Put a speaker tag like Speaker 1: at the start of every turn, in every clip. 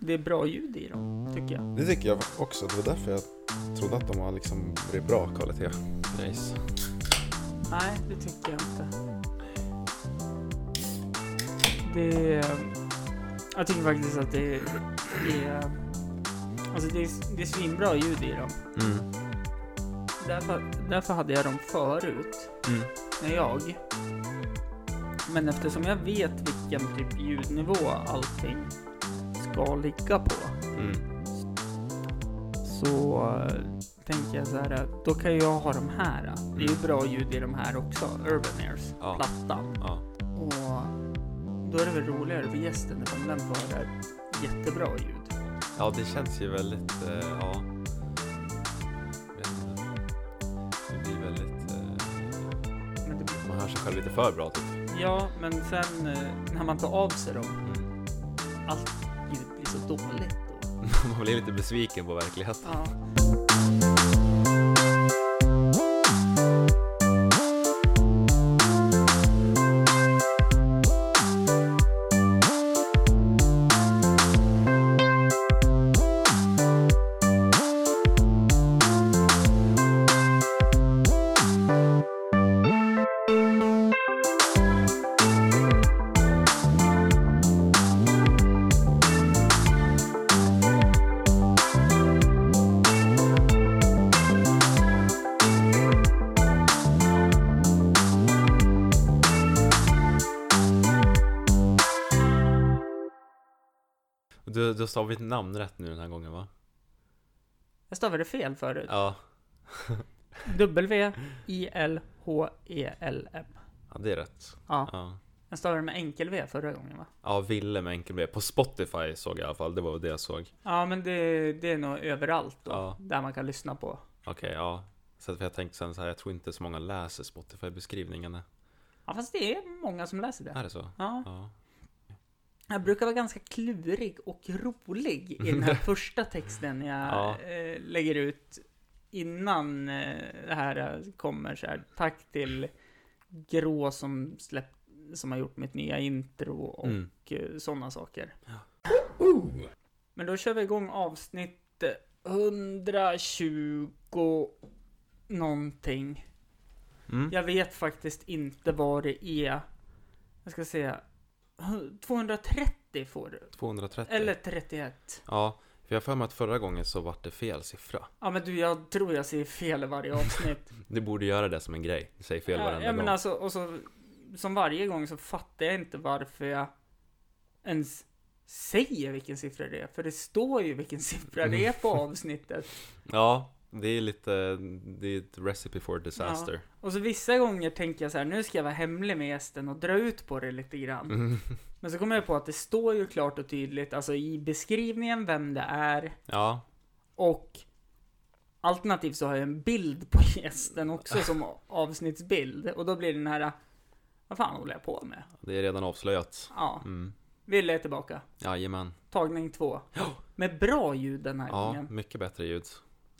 Speaker 1: det är bra ljud i dem, tycker jag.
Speaker 2: Det tycker jag också. Det var därför jag trodde att de var liksom det är bra kvalitet.
Speaker 3: Nice.
Speaker 1: Nej, det tycker jag inte. Det är... Jag tycker faktiskt att det är... Det är alltså det är, det är svinbra ljud i dem.
Speaker 3: Mm.
Speaker 1: Därför, därför hade jag dem förut,
Speaker 3: Mm.
Speaker 1: när jag... Men eftersom jag vet vilken typ ljudnivå allting ska ligga på
Speaker 3: Mm.
Speaker 1: så eh, tänker jag så här att då kan jag ha de här. eh. Det är ju bra ljud i de här också, Urban Airs,
Speaker 3: Mm. Ja.
Speaker 1: plattan.
Speaker 3: Ja.
Speaker 1: Och då är det väl roligare för gästen om den får höra jättebra ljud.
Speaker 3: Ja, det känns ju väldigt, eh, ja. Vet inte. Det blir väldigt, eh,
Speaker 1: Men det,
Speaker 3: man hör sig själv lite för bra typ.
Speaker 1: ja, men sen eh, när man tar av sig dem,
Speaker 3: Mm.
Speaker 1: allt ljud blir så dåligt då.
Speaker 3: Man blir lite besviken på verkligheten.
Speaker 1: Ja.
Speaker 3: Du, du sa mitt namn rätt nu den här gången va?
Speaker 1: Jag stavade fel förut.
Speaker 3: Ja.
Speaker 1: W-I-L-H-E-L-M.
Speaker 3: ja, det är rätt.
Speaker 1: Ja, E,
Speaker 3: Ja,
Speaker 1: jag stavade med enkel-V förra gången va?
Speaker 3: ja Ville med enkel B. På Spotify såg jag i alla fall, det var det jag såg.
Speaker 1: Ja, men det, det är nog överallt då,
Speaker 3: Ja.
Speaker 1: där man kan lyssna på.
Speaker 3: Okej, ja. Så att jag tänkte sen så här, jag tror inte så många läser Spotify-beskrivningarna.
Speaker 1: Ja, fast det är många som läser det.
Speaker 3: Är det så?
Speaker 1: Ja,
Speaker 3: Ja.
Speaker 1: jag brukar vara ganska klurig och rolig i den här första texten jag
Speaker 3: Ja.
Speaker 1: eh, lägger ut innan eh, det här eh, kommer så här. Tack till Grå som släppt som har gjort mitt nya intro och
Speaker 3: Mm.
Speaker 1: sådana saker. Men då kör vi igång avsnitt 120 någonting.
Speaker 3: Mm.
Speaker 1: Jag vet faktiskt inte vad det är. Jag ska se. 230 får du.
Speaker 3: 230.
Speaker 1: Eller 31.
Speaker 3: Ja, för jag har för mig att förra gången så vart det fel siffra.
Speaker 1: Ja men du, jag tror jag säger fel i varje avsnitt.
Speaker 3: Du borde göra det som en grej. Du säger fel
Speaker 1: ja,
Speaker 3: varenda
Speaker 1: ja, men
Speaker 3: gång.
Speaker 1: alltså, och så, som varje gång så fattar jag inte varför jag ens säger vilken siffra det är. För det står ju vilken siffra det är på
Speaker 3: Mm.
Speaker 1: avsnittet.
Speaker 3: Ja, det är lite, det är ett recipe for disaster.
Speaker 1: Och så vissa gånger tänker jag så här, nu ska jag vara hemlig med gästen och dra ut på det lite grann.
Speaker 3: Mm.
Speaker 1: Men så kommer jag på att det står ju klart och tydligt, alltså i beskrivningen vem det är
Speaker 3: Ja,
Speaker 1: och alternativt så har jag en bild på gästen också som avsnittsbild och då blir den här, vad fan håller jag på med?
Speaker 3: det är redan avslöjat.
Speaker 1: Ja,
Speaker 3: Mm.
Speaker 1: Ville är tillbaka.
Speaker 3: Jajamän.
Speaker 1: Tagning två. Med bra ljud den här
Speaker 3: Ja,
Speaker 1: gången.
Speaker 3: mycket bättre ljud.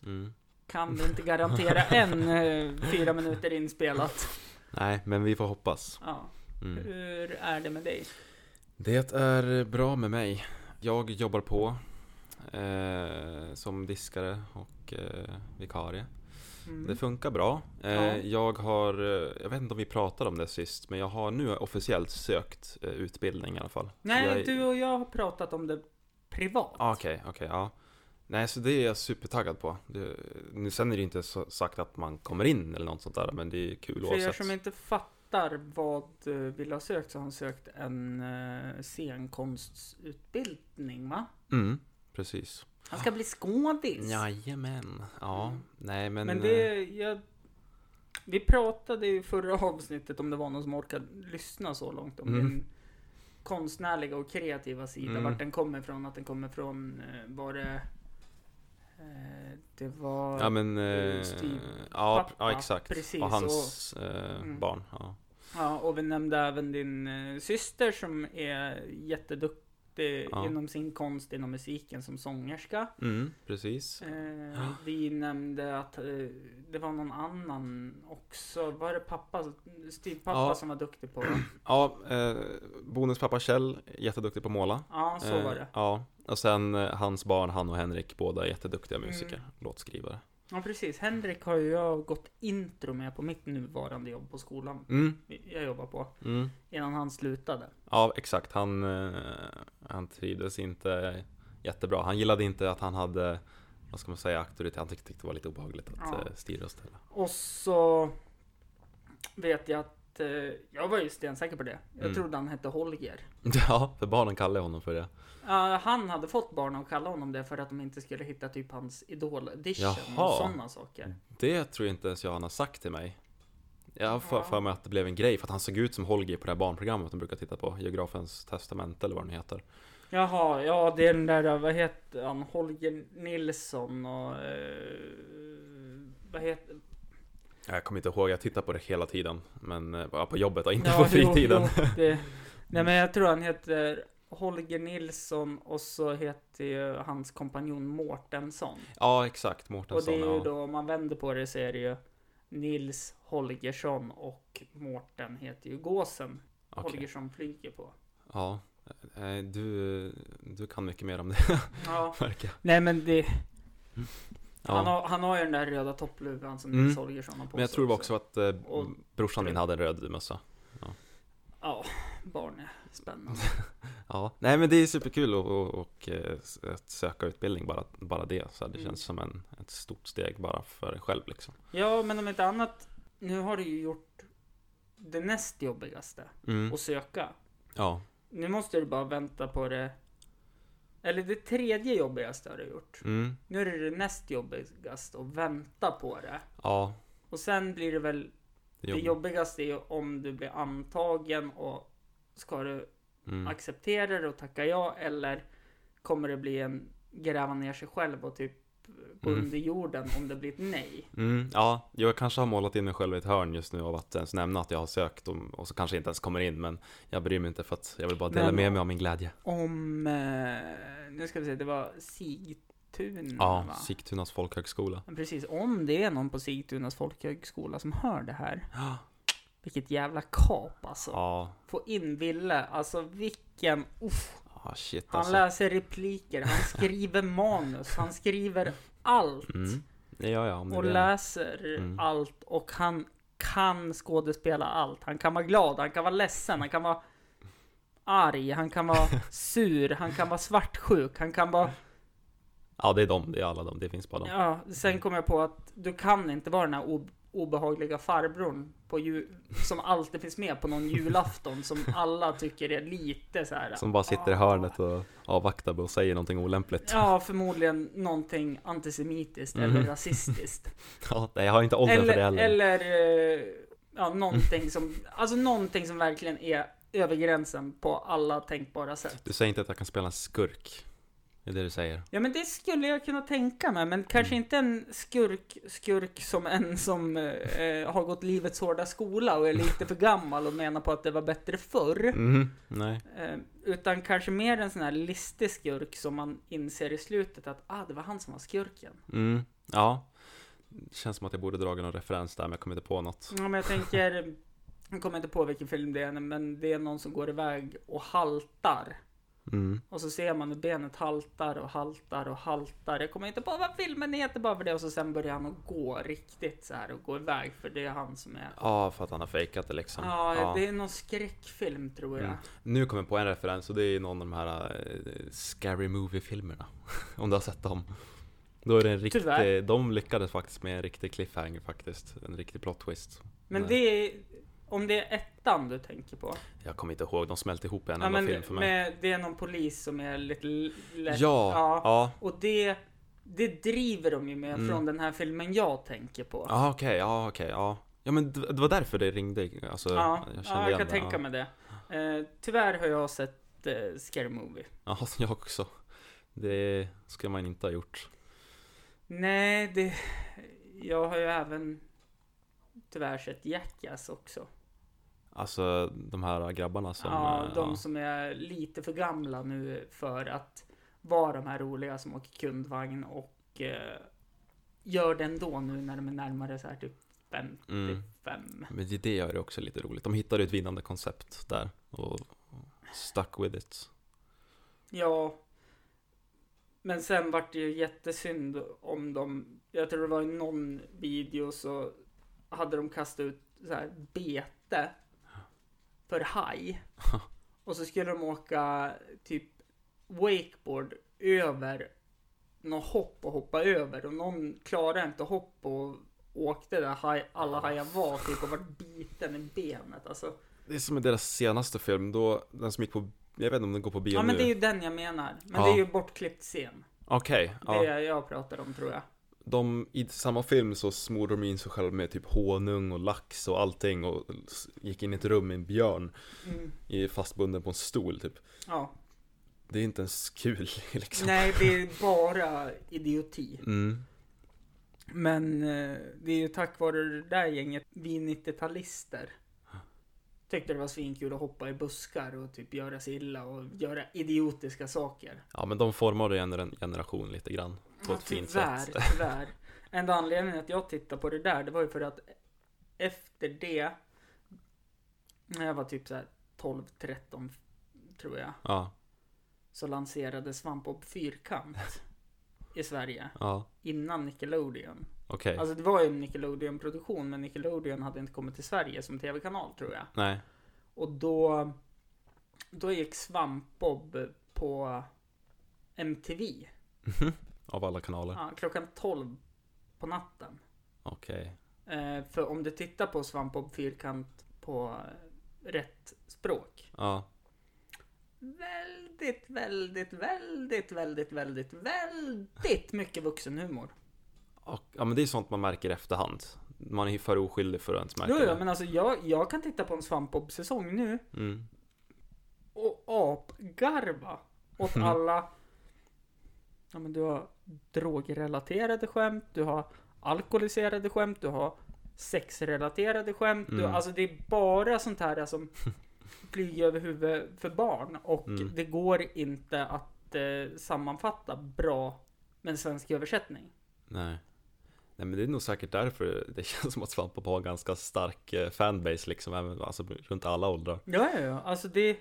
Speaker 3: Mm.
Speaker 1: Kan vi inte garantera en eh, fyra minuter inspelat.
Speaker 3: Nej, men vi får hoppas.
Speaker 1: Ja.
Speaker 3: Mm.
Speaker 1: Hur är det med dig?
Speaker 3: Det är bra med mig. Jag jobbar på eh, som diskare och eh, vikarie. Det
Speaker 1: Mm.
Speaker 3: funkar bra. Eh,
Speaker 1: Ja.
Speaker 3: Jag har, eh, jag vet inte om vi pratade om det sist, men jag har nu officiellt sökt eh, utbildning i alla fall. jag...
Speaker 1: Nej, du och jag har pratat om det privat.
Speaker 3: Ah, Okej, okej, ja. Nej, så det är jag supertaggad på. Det, nu, sen är det ju inte så sagt att man kommer in eller något sånt där, men det är kul
Speaker 1: För er
Speaker 3: oavsett.
Speaker 1: som inte fattar vad eh, Ville har sökt så har han sökt en eh, scenkonstutbildning va?
Speaker 3: Mm, precis.
Speaker 1: Han ska bli skådis!
Speaker 3: Jajamän. Ja,
Speaker 1: Mm.
Speaker 3: nej men...
Speaker 1: Men
Speaker 3: eh,
Speaker 1: det, jag, vi pratade i förra avsnittet om det var någon som orkade lyssna så långt om
Speaker 3: Mm.
Speaker 1: din konstnärliga och kreativa sida,
Speaker 3: Mm.
Speaker 1: vart den kommer ifrån, att den kommer från, eh, var det, eh, det var,
Speaker 3: Ja men... Eh,
Speaker 1: styvpappa,
Speaker 3: ja, p- ja, exakt.
Speaker 1: typ precis,
Speaker 3: och hans eh,
Speaker 1: Mm.
Speaker 3: barn. Ja.
Speaker 1: Ja, och vi nämnde även din eh, syster som är jätteduktig
Speaker 3: Ja.
Speaker 1: inom sin konst, inom musiken som sångerska.
Speaker 3: Mm, precis.
Speaker 1: Eh,
Speaker 3: Ja.
Speaker 1: vi nämnde att eh, det var någon annan också. Var det pappa, styvpappa
Speaker 3: Ja.
Speaker 1: som var duktig på?
Speaker 3: Ja, eh, bonuspappa Kjell, jätteduktig på att måla.
Speaker 1: Ja, så
Speaker 3: Eh,
Speaker 1: var det.
Speaker 3: Ja, Och sen eh, hans barn, han och Henrik, båda är jätteduktiga musiker,
Speaker 1: Mm.
Speaker 3: låtskrivare.
Speaker 1: Ja, precis. Henrik har ju jag gått intro med på mitt nuvarande jobb på skolan.
Speaker 3: Mm,
Speaker 1: Jag jobbar på.
Speaker 3: mm.
Speaker 1: Innan han slutade.
Speaker 3: Ja, exakt. Han, eh, han trivdes inte jättebra. Han gillade inte att han hade, vad ska man säga, auktoritet. Han tyckte det var lite obehagligt att
Speaker 1: Ja.
Speaker 3: eh, styra och ställa.
Speaker 1: Och så vet jag att eh, jag var ju stensäker på det. Jag
Speaker 3: Mm.
Speaker 1: trodde han hette Holger.
Speaker 3: Ja, för barnen kallade honom för det.
Speaker 1: Eh, han hade fått barn att kalla honom det för att de inte skulle hitta typ hans idol-edition och
Speaker 3: Jaha.
Speaker 1: sådana saker.
Speaker 3: Det tror jag inte ens jag han har sagt till mig. Jag har för, för mig att det blev en grej för att han såg ut som Holger på det här barnprogrammet de brukar titta på. Geografens testamente eller vad den heter.
Speaker 1: Jaha, ja det är den där, vad heter han, Holger Nilsson och... Eh, vad heter...
Speaker 3: Jag kommer inte ihåg, jag tittar på det hela tiden. Men eh, ja, på jobbet och inte
Speaker 1: Ja,
Speaker 3: på
Speaker 1: jo,
Speaker 3: fritiden.
Speaker 1: jo, det, nej men jag tror han heter Holger Nilsson och så heter ju hans kompanjon Mårtensson.
Speaker 3: Ja, exakt.
Speaker 1: Och det
Speaker 3: Mårtensson.
Speaker 1: är ju
Speaker 3: Ja.
Speaker 1: då, om man vänder på det så är det ju Nils Holgersson och Mårten heter ju gåsen
Speaker 3: Okej.
Speaker 1: Holgersson flyger på.
Speaker 3: ja. Eh, Du, du kan mycket mer om det,
Speaker 1: Ja,
Speaker 3: verkar
Speaker 1: nej men det,
Speaker 3: ja.
Speaker 1: han, har, han har ju den där röda toppluvan som Nils
Speaker 3: Mm.
Speaker 1: Holgersson har på
Speaker 3: Men jag
Speaker 1: sig
Speaker 3: tror det var också att eh,
Speaker 1: Och-
Speaker 3: brorsan min hade en röd mössa.
Speaker 1: Ja, barn är spännande.
Speaker 3: Ja, nej men det är superkul att- och, och, eh, s- att söka utbildning, bara, bara det. Så här, det
Speaker 1: Mm.
Speaker 3: känns som en, ett stort steg bara för en själv liksom.
Speaker 1: Ja, men om inte annat, nu har du ju gjort det näst jobbigaste,
Speaker 3: Mm.
Speaker 1: att söka.
Speaker 3: Ja,
Speaker 1: Nu måste du bara vänta på det. Eller det tredje jobbigaste har du gjort.
Speaker 3: mm.
Speaker 1: Nu är det det näst jobbigaste att vänta på det.
Speaker 3: ja,
Speaker 1: Och sen blir det väl
Speaker 3: det
Speaker 1: det
Speaker 3: är jobb.
Speaker 1: jobbigaste är ju om du blir antagen och ska du
Speaker 3: Mm.
Speaker 1: acceptera det och tacka ja eller kommer det bli en gräva ner sig själv och typ gå
Speaker 3: Mm.
Speaker 1: under jorden om det blir ett nej.
Speaker 3: Mm, ja, jag kanske har målat in mig själv i ett hörn just nu av att ens nämna att jag har sökt och, och så kanske jag inte ens kommer in men jag bryr mig inte för att jag vill bara dela
Speaker 1: Men-
Speaker 3: med mig av min glädje.
Speaker 1: Mm, Om, eh, nu ska vi se, det var Sigtuna
Speaker 3: Ja,
Speaker 1: va?
Speaker 3: Sigtunas folkhögskola.
Speaker 1: Men Precis, om det är någon på Sigtunas folkhögskola som hör det här. Vilket jävla kap alltså.
Speaker 3: Ja,
Speaker 1: Få in Ville, alltså vilken... Uff,
Speaker 3: ah, shit
Speaker 1: han
Speaker 3: alltså.
Speaker 1: läser repliker, han skriver manus, han skriver allt.
Speaker 3: Mm. Ja, ja, om det
Speaker 1: och
Speaker 3: blir en-
Speaker 1: läser
Speaker 3: Mm.
Speaker 1: allt och han kan skådespela allt. Han kan vara glad, han kan vara ledsen, han kan vara arg, han kan vara sur, han kan vara svartsjuk, han kan vara...
Speaker 3: Ja, det är de, det är alla de, det finns bara de.
Speaker 1: Ja, sen
Speaker 3: Mm.
Speaker 1: kom jag på att du kan inte vara den här ob- obehagliga farbrorn på ju- som alltid finns med på någon julafton som alla tycker är lite så här.
Speaker 3: Som bara sitter i hörnet och avvaktar och säger någonting olämpligt.
Speaker 1: Ja, förmodligen någonting antisemitiskt eller
Speaker 3: Mhm.
Speaker 1: rasistiskt.
Speaker 3: Ja, nej, jag har inte åldern för det
Speaker 1: eller,
Speaker 3: heller.
Speaker 1: eller eh, ja, någonting som, alltså någonting som verkligen är över gränsen på alla tänkbara sätt.
Speaker 3: Du säger inte att jag kan spela en skurk. Det är det du säger.
Speaker 1: Ja, men det skulle jag kunna tänka mig, men kanske inte en skurk, skurk som en som eh, har gått livets hårda skola och är lite för gammal och menar på att det var bättre förr.
Speaker 3: Mhm, nej.
Speaker 1: Eh, utan kanske mer en sån här listig skurk som man inser i slutet att ah, det var han som var skurken.
Speaker 3: Mm, ja. Det känns som att jag borde dra någon referens där, men jag kommer inte på något.
Speaker 1: Ja, men jag tänker, jag kommer inte på vilken film det är, men det är någon som går iväg och haltar.
Speaker 3: Mm.
Speaker 1: Och så ser man hur benet haltar och haltar och haltar. Jag kommer inte på vad filmen heter bara för det. Och så sen börjar han att gå riktigt så här och gå iväg för det är han som är...
Speaker 3: Ja, för att han har fejkat det liksom.
Speaker 1: Ja,
Speaker 3: Ja.
Speaker 1: det är någon skräckfilm tror jag.
Speaker 3: Mm. Nu kommer jag på en referens och det är någon av de här eh, Scary Movie-filmerna. Om du har sett dem. Då är det en
Speaker 1: Tyvärr.
Speaker 3: riktig, de lyckades faktiskt med en riktig cliffhanger faktiskt. En riktig plot twist.
Speaker 1: Men
Speaker 3: Nej.
Speaker 1: det är... Om det är ettan du tänker på?
Speaker 3: Jag kommer inte ihåg, de smälte ihop i en
Speaker 1: Ja,
Speaker 3: enda
Speaker 1: men
Speaker 3: film för mig.
Speaker 1: med, det är någon polis som är lite l- lätt...
Speaker 3: Ja, ja.
Speaker 1: Och det... Det driver de ju med
Speaker 3: Mm.
Speaker 1: från den här filmen jag tänker på.
Speaker 3: Ja, okej, ja, okej, ja. Ja, men det det var därför det ringde. Alltså,
Speaker 1: Ja,
Speaker 3: jag kände
Speaker 1: ja, jag
Speaker 3: igen
Speaker 1: kan
Speaker 3: det,
Speaker 1: tänka
Speaker 3: ja.
Speaker 1: mig det. Eh, tyvärr har jag sett eh, Scary Movie.
Speaker 3: Ja, jag också. Det ska man inte ha gjort.
Speaker 1: Nej, det... Jag har ju även tyvärr sett Jackass också.
Speaker 3: Alltså, de här grabbarna som...
Speaker 1: ja,
Speaker 3: eh,
Speaker 1: de som är lite för gamla nu för att vara de här roliga som åker kundvagn och eh, gör det ändå nu när de är närmare så här typ 55.
Speaker 3: Mm. Men det, det gör det också lite roligt. De hittade ett vinnande koncept där och stuck with it.
Speaker 1: Ja, Men sen vart det ju jättesynd om dem. Jag tror det var i någon video så hade de kastat ut så här bete för haj. Och så skulle de åka typ wakeboard över något hopp och hoppa över och någon klarade inte hopp och åkte där haj, alla
Speaker 3: Ah,
Speaker 1: hajar var typ och vart biten i benet alltså.
Speaker 3: Det är som i deras senaste film, då den som gick på, jag vet inte om den går på bio
Speaker 1: Ja men
Speaker 3: nu.
Speaker 1: det är ju den jag menar. Men
Speaker 3: Ja.
Speaker 1: det är ju bortklippt scen.
Speaker 3: Okej,
Speaker 1: Det
Speaker 3: ja.
Speaker 1: är jag pratar om tror jag.
Speaker 3: De, i samma film så smorde de in sig själva med typ honung och lax och allting och s- gick in i ett rum med en björn
Speaker 1: Mm.
Speaker 3: i- fastbunden på en stol typ.
Speaker 1: Ja.
Speaker 3: Det är inte ens kul liksom.
Speaker 1: Nej, det är bara idioti.
Speaker 3: Mm.
Speaker 1: Men eh, det är ju tack vare det där gänget, vi 90-talister. Tyckte det var svinkul att hoppa i buskar och typ göra sig illa och göra idiotiska saker.
Speaker 3: Ja men de formade ju ändå en generation lite grann. På
Speaker 1: Ja,
Speaker 3: ett fint
Speaker 1: tyvärr,
Speaker 3: sätt.
Speaker 1: tyvärr. Enda anledningen att jag tittade på det där, det var ju för att efter det, när jag var typ så här 12, 13 tror jag,
Speaker 3: Ja,
Speaker 1: så lanserade Svampbob Fyrkant i Sverige
Speaker 3: ja,
Speaker 1: innan Nickelodeon.
Speaker 3: okej.
Speaker 1: Alltså det var ju en Nickelodeon-produktion, men Nickelodeon hade inte kommit till Sverige som tv-kanal tror jag.
Speaker 3: Nej.
Speaker 1: Och då, då gick Svampbob på MTV
Speaker 3: Mhm. Av alla kanaler.
Speaker 1: ja, klockan 12 på natten.
Speaker 3: Okej.
Speaker 1: Eh, för om du tittar på Svampbob Fyrkant på eh, rätt språk.
Speaker 3: Ja.
Speaker 1: Väldigt, väldigt, väldigt, väldigt, väldigt, väldigt mycket vuxenhumor.
Speaker 3: Och, ja men det är sånt man märker i efterhand. Man är ju för oskyldig för att ens märka
Speaker 1: Jo, jo,
Speaker 3: det.
Speaker 1: men alltså jag, jag kan titta på en Svampbob-säsong nu
Speaker 3: Mm.
Speaker 1: och apgarva åt
Speaker 3: Mm.
Speaker 1: alla. Ja, men du har drogrelaterade skämt, du har alkoholiserade skämt, du har sexrelaterade skämt. Du,
Speaker 3: Mm.
Speaker 1: alltså det är bara sånt här som flyger över huvudet för barn och
Speaker 3: Mm.
Speaker 1: det går inte att eh, sammanfatta bra med en svensk översättning.
Speaker 3: Nej. Nej men det är nog säkert därför det känns som att Svampbob har en ganska stark eh, fanbase liksom, även, alltså runt alla åldrar.
Speaker 1: Ja, ja, ja. Alltså det...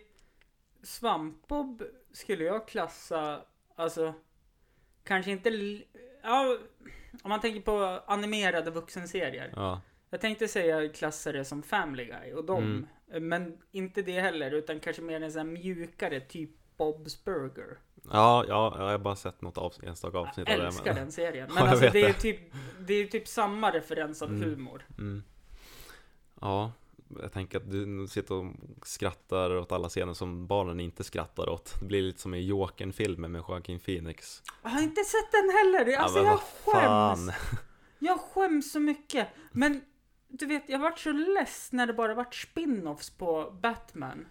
Speaker 1: Svampbob skulle jag klassa... Alltså... Kanske inte... l- Ja, om man tänker på animerade vuxenserier.
Speaker 3: Ja.
Speaker 1: Jag tänkte säga klassa det som Family Guy och dem.
Speaker 3: Mm.
Speaker 1: Men inte det heller, utan kanske mer en sån här mjukare typ Bob's Burger.
Speaker 3: Ja, ja, jag har bara sett något avs- enstaka avsnitt
Speaker 1: Jag
Speaker 3: av det.
Speaker 1: älskar den serien.
Speaker 3: Ja,
Speaker 1: Men
Speaker 3: jag
Speaker 1: alltså
Speaker 3: vet
Speaker 1: det är
Speaker 3: det.
Speaker 1: typ, det är typ samma referens av
Speaker 3: Mm.
Speaker 1: humor.
Speaker 3: Mm. Ja, jag tänker att du nog sitter och skrattar åt alla scener som barnen inte skrattar åt. Det blir lite som i Jokern-filmen med Joaquin Phoenix.
Speaker 1: Jag har inte sett den heller! Alltså
Speaker 3: men
Speaker 1: jag
Speaker 3: vad
Speaker 1: skäms! Jag skäms så mycket. Men du vet, jag vart så less när det bara vart spin-offs på Batman.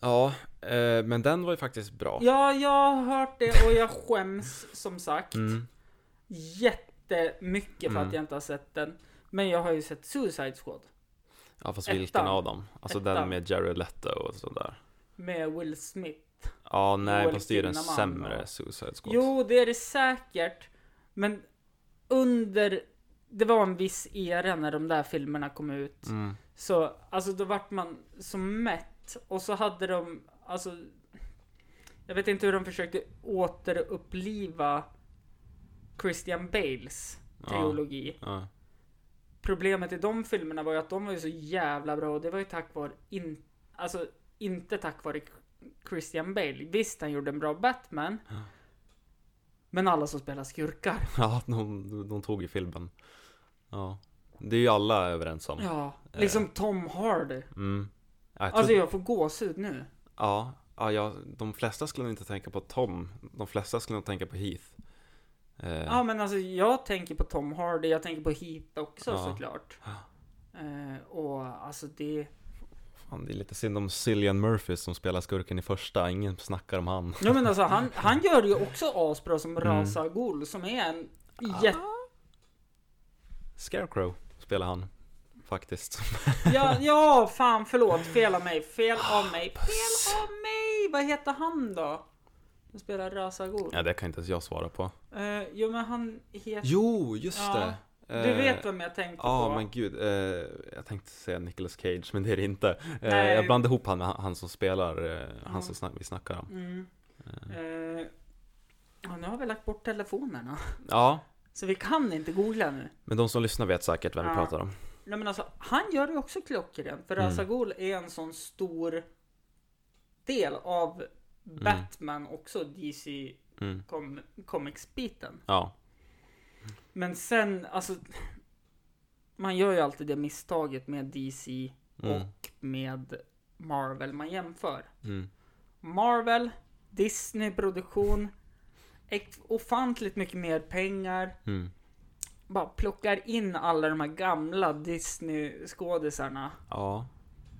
Speaker 3: Ja, eh, men den var ju faktiskt bra.
Speaker 1: Ja, jag har hört det och jag skäms som sagt.
Speaker 3: Mm.
Speaker 1: Jättemycket för
Speaker 3: Mm.
Speaker 1: att jag inte har sett den. Men jag har ju sett Suicide Squad.
Speaker 3: Ja, fast
Speaker 1: Ettan.
Speaker 3: vilken av dem? Alltså den
Speaker 1: Ettan.
Speaker 3: med Jared Leto och sådär.
Speaker 1: Med Will Smith.
Speaker 3: Ja, nej,
Speaker 1: Joel
Speaker 3: fast det är ju den
Speaker 1: Kinnaman,
Speaker 3: sämre
Speaker 1: va?
Speaker 3: Suicide Squad.
Speaker 1: Jo, det är det säkert. Men under... Det var en viss era när de där filmerna kom ut.
Speaker 3: Mm.
Speaker 1: Så alltså då vart man så mätt och så hade de alltså Jag vet inte hur de försökte återuppliva Christian Bales
Speaker 3: Ja.
Speaker 1: trilogi.
Speaker 3: Ja.
Speaker 1: Problemet i de filmerna var ju att de var ju så jävla bra och det var ju tack vare in, alltså inte tack vare Christian Bale. Visst han gjorde en bra Batman.
Speaker 3: Ja.
Speaker 1: Men alla som spelar skurkar.
Speaker 3: ja, de, de tog ju filmen. Ja, det är ju alla överens om.
Speaker 1: Ja,
Speaker 3: Eh.
Speaker 1: liksom Tom Hardy.
Speaker 3: Mm. Ja, jag tror-
Speaker 1: Alltså jag får gåshud nu.
Speaker 3: Ja, ja, ja, de flesta skulle nog inte tänka på Tom. De flesta skulle nog tänka på Heath. Eh,
Speaker 1: Ja men alltså jag tänker på Tom Hardy, jag tänker på Heat också
Speaker 3: Ja.
Speaker 1: såklart. Eh, och alltså det...
Speaker 3: Fan, det är lite synd om Cillian Murphy som spelar skurken i första. Ingen snackar om han.
Speaker 1: Ja men alltså han, han gör det ju också asbra som
Speaker 3: Mm.
Speaker 1: Ra's al Ghul som är en jätte...
Speaker 3: Scarecrow spelar han. Faktiskt.
Speaker 1: Ja, ja fan förlåt, fel av mig, fel av mig,
Speaker 3: Ah,
Speaker 1: fel av mig! Vad heter han då? Som spelar Ra's al Ghul?
Speaker 3: ja, det kan inte ens jag svara på.
Speaker 1: Eh, jo men han heter...
Speaker 3: Jo, just
Speaker 1: Ja,
Speaker 3: det.
Speaker 1: Du
Speaker 3: Eh,
Speaker 1: vet vem jag tänkte
Speaker 3: Ja,
Speaker 1: på?
Speaker 3: men gud. Eh, jag tänkte säga Nicolas Cage, men det är det inte. Eh,
Speaker 1: Nej. Mm.
Speaker 3: jag blandade ihop han med han, han som spelar, eh, han
Speaker 1: Ja.
Speaker 3: som snack, vi snackar om.
Speaker 1: Mm. Eh, Ja, nu har vi lagt bort telefonerna.
Speaker 3: Ja,
Speaker 1: Så vi kan inte googla nu.
Speaker 3: men de som lyssnar vet säkert vem vi
Speaker 1: Ja.
Speaker 3: pratar om.
Speaker 1: Nej men alltså, han gör det också klockrent. För
Speaker 3: Mm.
Speaker 1: Razagul är en sån stor del av Batman också, DC
Speaker 3: Mm.
Speaker 1: com- Comics-biten.
Speaker 3: Ja,
Speaker 1: Men sen, alltså. Man gör ju alltid det misstaget med DC
Speaker 3: Mm.
Speaker 1: och med Marvel man jämför.
Speaker 3: mm.
Speaker 1: Marvel, Disney-produktion, ett ofantligt mycket mer pengar.
Speaker 3: Mm.
Speaker 1: Bara plockar in alla de här gamla Disney-skådisarna
Speaker 3: ja,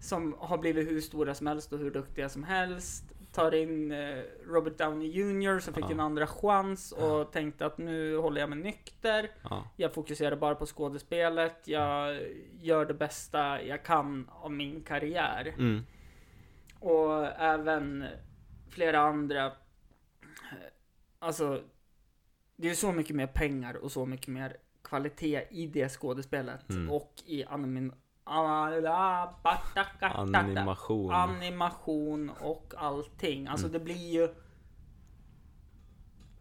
Speaker 1: som har blivit hur stora som helst och hur duktiga som helst. Tar in eh, Robert Downey Jr som fick
Speaker 3: Ja.
Speaker 1: en andra chans och tänkte att nu håller jag mig nykter.
Speaker 3: ja,
Speaker 1: Jag fokuserar bara på skådespelet. Jag gör det bästa jag kan av min karriär.
Speaker 3: mm.
Speaker 1: Och även flera andra. eh, Alltså, det är så mycket mer pengar och så mycket mer kvalitet i det skådespelet
Speaker 3: Mm.
Speaker 1: och i animin... Ah, batakatata.
Speaker 3: animation.
Speaker 1: Animation och allting. Alltså det blir ju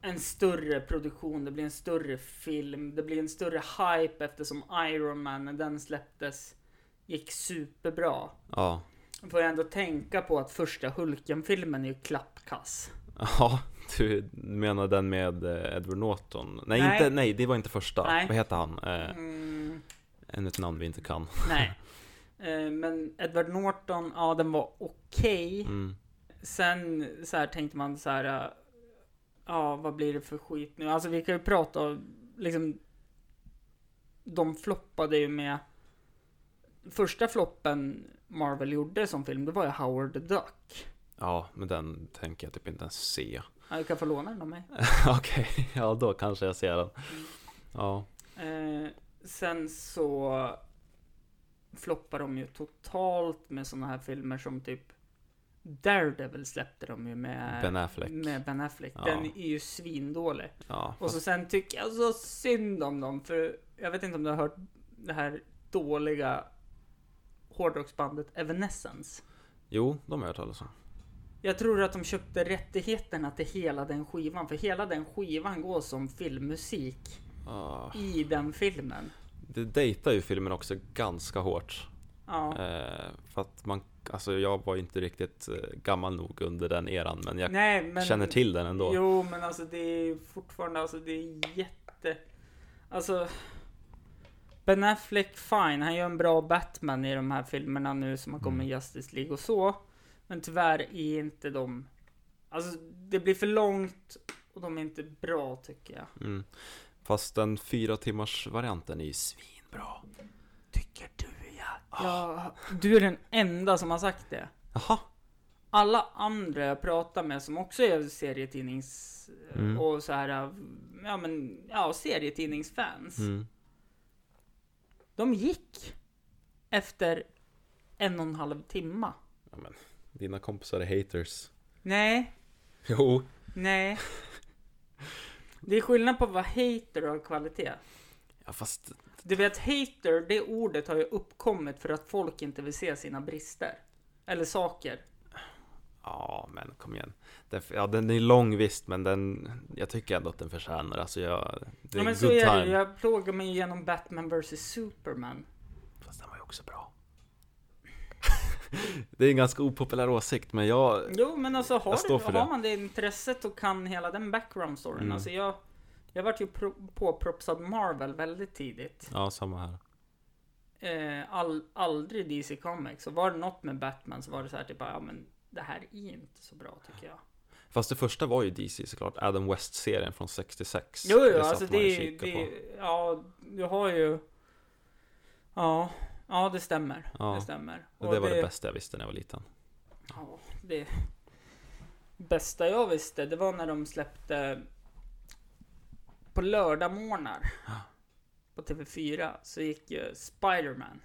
Speaker 1: en större produktion, det blir en större film, det blir en större hype eftersom Iron Man när den släpptes gick superbra.
Speaker 3: ja,
Speaker 1: Man får ju ändå tänka på att första Hulken-filmen är ju klappkass.
Speaker 3: ja, du menar den med eh, Edward Norton? Nej,
Speaker 1: Nej.
Speaker 3: Inte, nej det var inte första.
Speaker 1: Nej.
Speaker 3: Vad heter han? Eh,
Speaker 1: Mm,
Speaker 3: ännu ett namn vi inte kan.
Speaker 1: nej. Eh, Men Edward Norton, ja den var okej.
Speaker 3: Mm.
Speaker 1: Sen så här tänkte man så här. eh, Ja, vad blir det för skit nu? Alltså vi kan ju prata om liksom. De floppade ju med. Första floppen Marvel gjorde som film, det var ju Howard the Duck.
Speaker 3: Ja, men den tänker jag typ inte ens se.
Speaker 1: Ja, du kan få låna den av mig.
Speaker 3: Okej, ja då kanske jag ser den. Ja,
Speaker 1: Eh, sen så floppar de ju totalt med såna här filmer som typ Daredevil släppte de ju med
Speaker 3: Ben Affleck.
Speaker 1: Med ben Affleck.
Speaker 3: Ja.
Speaker 1: Den är ju svindålig.
Speaker 3: ja,
Speaker 1: Och så sen tycker jag så synd om dem för jag vet inte om du har hört det här dåliga hårdrocksbandet Evanescence.
Speaker 3: Jo, de har jag hört talas om.
Speaker 1: Jag tror att de köpte rättigheterna till hela den skivan för hela den skivan går som filmmusik
Speaker 3: Ah,
Speaker 1: i den filmen.
Speaker 3: det dejtar ju filmen också ganska hårt.
Speaker 1: Ja.
Speaker 3: Eh, för att man, alltså jag var ju inte riktigt eh, gammal nog under den eran, men jag
Speaker 1: Nej, men...
Speaker 3: känner till den ändå.
Speaker 1: Jo, men alltså det är fortfarande, alltså det är jätte... Alltså... Ben Affleck, fine, han gör en bra Batman i de här filmerna nu som har kommit i Justice League och så. Men tyvärr är inte de... Alltså, det blir för långt och de är inte bra tycker jag.
Speaker 3: Mm. Fast den fyra timmars varianten är ju svinbra.
Speaker 1: Tycker du ja. Du är den enda som har sagt det.
Speaker 3: Jaha,
Speaker 1: alla andra jag pratar med som också är serietidnings
Speaker 3: Mm.
Speaker 1: och så här, ja men, ja serietidningsfans.
Speaker 3: mm.
Speaker 1: De gick efter en och en halv timma.
Speaker 3: ja, men, dina kompisar är haters.
Speaker 1: Nej,
Speaker 3: Jo,
Speaker 1: nej. Det är skillnad på vad hater och kvalitet.
Speaker 3: ja, fast
Speaker 1: Du vet, hater, det ordet har ju uppkommit för att folk inte vill se sina brister. Eller saker.
Speaker 3: Ja, men kom igen. Den, ja, den är lång visst, men den, jag tycker ändå att den förtjänar. Alltså, jag, det är
Speaker 1: Ja, men
Speaker 3: good
Speaker 1: så är det
Speaker 3: time.
Speaker 1: ju. Jag plågar mig igenom Batman vs Superman.
Speaker 3: Fast den var ju också bra. det är en ganska opopulär åsikt, men jag...
Speaker 1: Jo men alltså har,
Speaker 3: Jag står
Speaker 1: du,
Speaker 3: för
Speaker 1: har
Speaker 3: det.
Speaker 1: man det intresset och kan hela den background storyn.
Speaker 3: Mm.
Speaker 1: Alltså jag, jag vart ju pro- påpropsad Marvel väldigt tidigt.
Speaker 3: Ja, samma här.
Speaker 1: Eh, all, aldrig DC Comics. Och var det något med Batman så var det så här typ ja men det här är inte så bra tycker jag.
Speaker 3: Fast det första var ju DC såklart, Adam West-serien från 66.
Speaker 1: Jo jo
Speaker 3: satt
Speaker 1: alltså
Speaker 3: man
Speaker 1: det
Speaker 3: och
Speaker 1: är ju,
Speaker 3: kikade
Speaker 1: det
Speaker 3: på.
Speaker 1: är- ja du har ju, ja, ja det stämmer.
Speaker 3: Ja.
Speaker 1: Det stämmer.
Speaker 3: Och det var det bästa jag visste när jag var liten.
Speaker 1: Ja, det bästa jag visste det var när de släppte på lördagmorgnar på TV4 så gick ju Spiderman,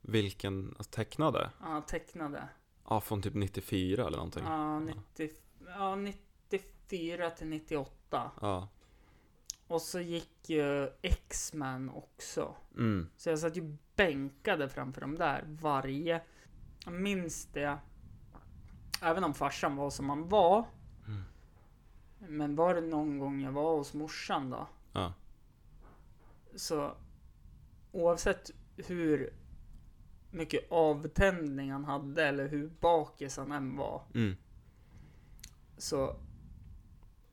Speaker 3: Vilken alltså, tecknade?
Speaker 1: han tecknade,
Speaker 3: Ja, från typ 94 eller någonting. Ja.
Speaker 1: ja, 90, ja, 94 till 98. Och så gick ju X-Men också.
Speaker 3: Mm.
Speaker 1: Så jag satt ju bänkade framför dem där varje... Jag
Speaker 3: Mm.
Speaker 1: minns det. Även om farsan var som han var. Men var det någon gång jag var hos morsan då?
Speaker 3: Ja.
Speaker 1: Så oavsett hur mycket avtändning han hade eller hur bakis han än var.
Speaker 3: Mm.
Speaker 1: Så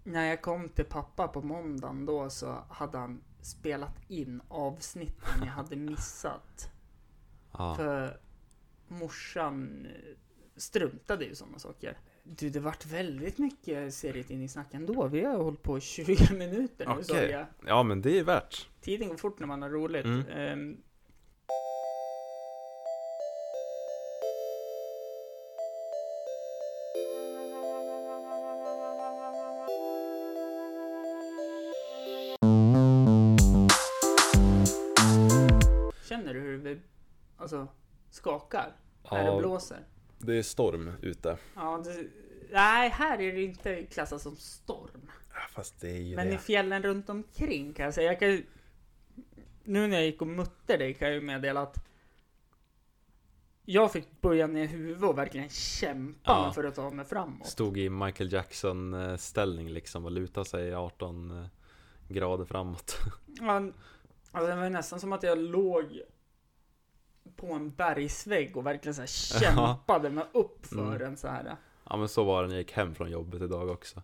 Speaker 1: när jag kom till pappa på måndagen då så hade han spelat in avsnitten jag hade missat.
Speaker 3: Ja.
Speaker 1: För morsan eh, struntade ju sådana saker. Du, det vart väldigt mycket serietidningssnack ändå. Vi har hållit på i 20 minuter nu sa
Speaker 3: Okej.
Speaker 1: jag.
Speaker 3: ja, men det är värt.
Speaker 1: Tiden går fort när man har roligt.
Speaker 3: Mm.
Speaker 1: Ehm, Känner du hur vi alltså, skakar när det
Speaker 3: Ja,
Speaker 1: blåser?
Speaker 3: det är storm ute.
Speaker 1: Ja, det, nej, här är det inte klassat som storm.
Speaker 3: Ja, Fast det är ju
Speaker 1: Men i
Speaker 3: det.
Speaker 1: fjällen runt omkring kan jag säga. Jag kan ju, nu när jag gick och mötte dig kan jag ju meddela att jag fick böja ner huvudet och verkligen kämpa
Speaker 3: Ja.
Speaker 1: mig för att ta mig framåt.
Speaker 3: Stod i Michael Jackson-ställning liksom och lutade sig 18 grader framåt.
Speaker 1: Man, alltså det var ju nästan som att jag låg på en bergsvägg och verkligen så här kämpade mig upp för
Speaker 3: Mm.
Speaker 1: den så här.
Speaker 3: Ja men så var det när jag gick hem från jobbet idag också.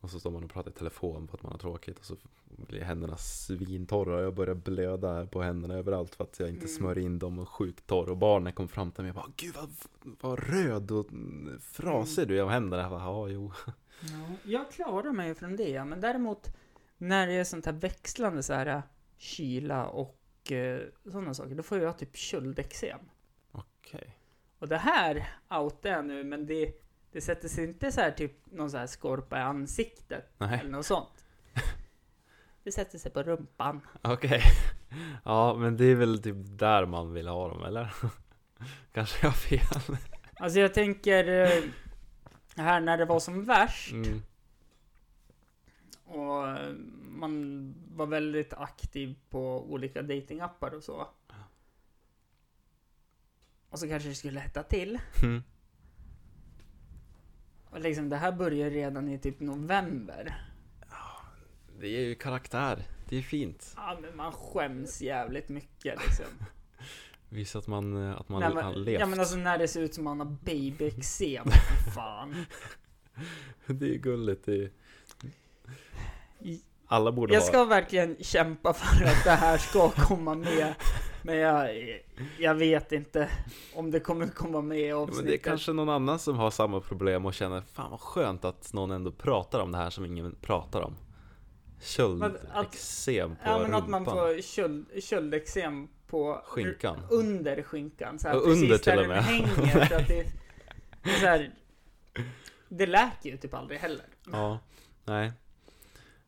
Speaker 3: Och så står man och pratar i telefon för att man har tråkigt och så blir händerna svintorra och jag börjar blöda här på händerna överallt för att jag inte
Speaker 1: Mm.
Speaker 3: smörjer in dem och sjukt torr. Och barnen kom fram till mig och bara Gud vad, vad röd och mm,
Speaker 1: Mm.
Speaker 3: frasig du är om händerna. Jag bara, ja jo.
Speaker 1: Ja, jag klarar mig ju från det, men däremot när det är sånt här växlande så här kyla och eh, sådana saker, då får jag typ köldexem.
Speaker 3: Okej.
Speaker 1: Och det här outar jag nu, men det, det sätter sig inte så här typ någon så här skorpa i ansiktet
Speaker 3: Nej,
Speaker 1: eller något sånt. Det sätter sig på rumpan.
Speaker 3: okej. Ja men det är väl typ där man vill ha dem eller? Kanske jag har fel.
Speaker 1: Alltså jag tänker eh, här när det var som värst
Speaker 3: Mm.
Speaker 1: och eh, man var väldigt aktiv på olika datingappar och så. Och så kanske det skulle hetta till.
Speaker 3: Mm.
Speaker 1: Och liksom det här börjar redan i typ november.
Speaker 3: Det är ju karaktär. Det är fint.
Speaker 1: Ja men man skäms jävligt mycket liksom.
Speaker 3: Visa att man, eh, att man
Speaker 1: Nej,
Speaker 3: har
Speaker 1: men,
Speaker 3: levt.
Speaker 1: ja men alltså när det ser ut som man har babyexem, för fan.
Speaker 3: Det är ju gulligt. Det är... Alla borde
Speaker 1: Jag
Speaker 3: ha.
Speaker 1: ska verkligen kämpa för att det här ska komma med. Men jag, jag vet inte om det kommer komma med i
Speaker 3: Ja, Men det är
Speaker 1: avsnittet.
Speaker 3: kanske någon annan som har samma problem och känner fan vad skönt att någon ändå pratar om det här som ingen pratar om.
Speaker 1: Men att-
Speaker 3: Köldexem på
Speaker 1: ja men
Speaker 3: rumpan.
Speaker 1: att man får köld, köldexem på...
Speaker 3: Skinkan.
Speaker 1: Under skinkan. Så här,
Speaker 3: Ja,
Speaker 1: precis
Speaker 3: under
Speaker 1: där
Speaker 3: till och
Speaker 1: den
Speaker 3: med.
Speaker 1: hänger. Så att det, det, är så här, det läker ju typ aldrig heller.
Speaker 3: Ja, nej.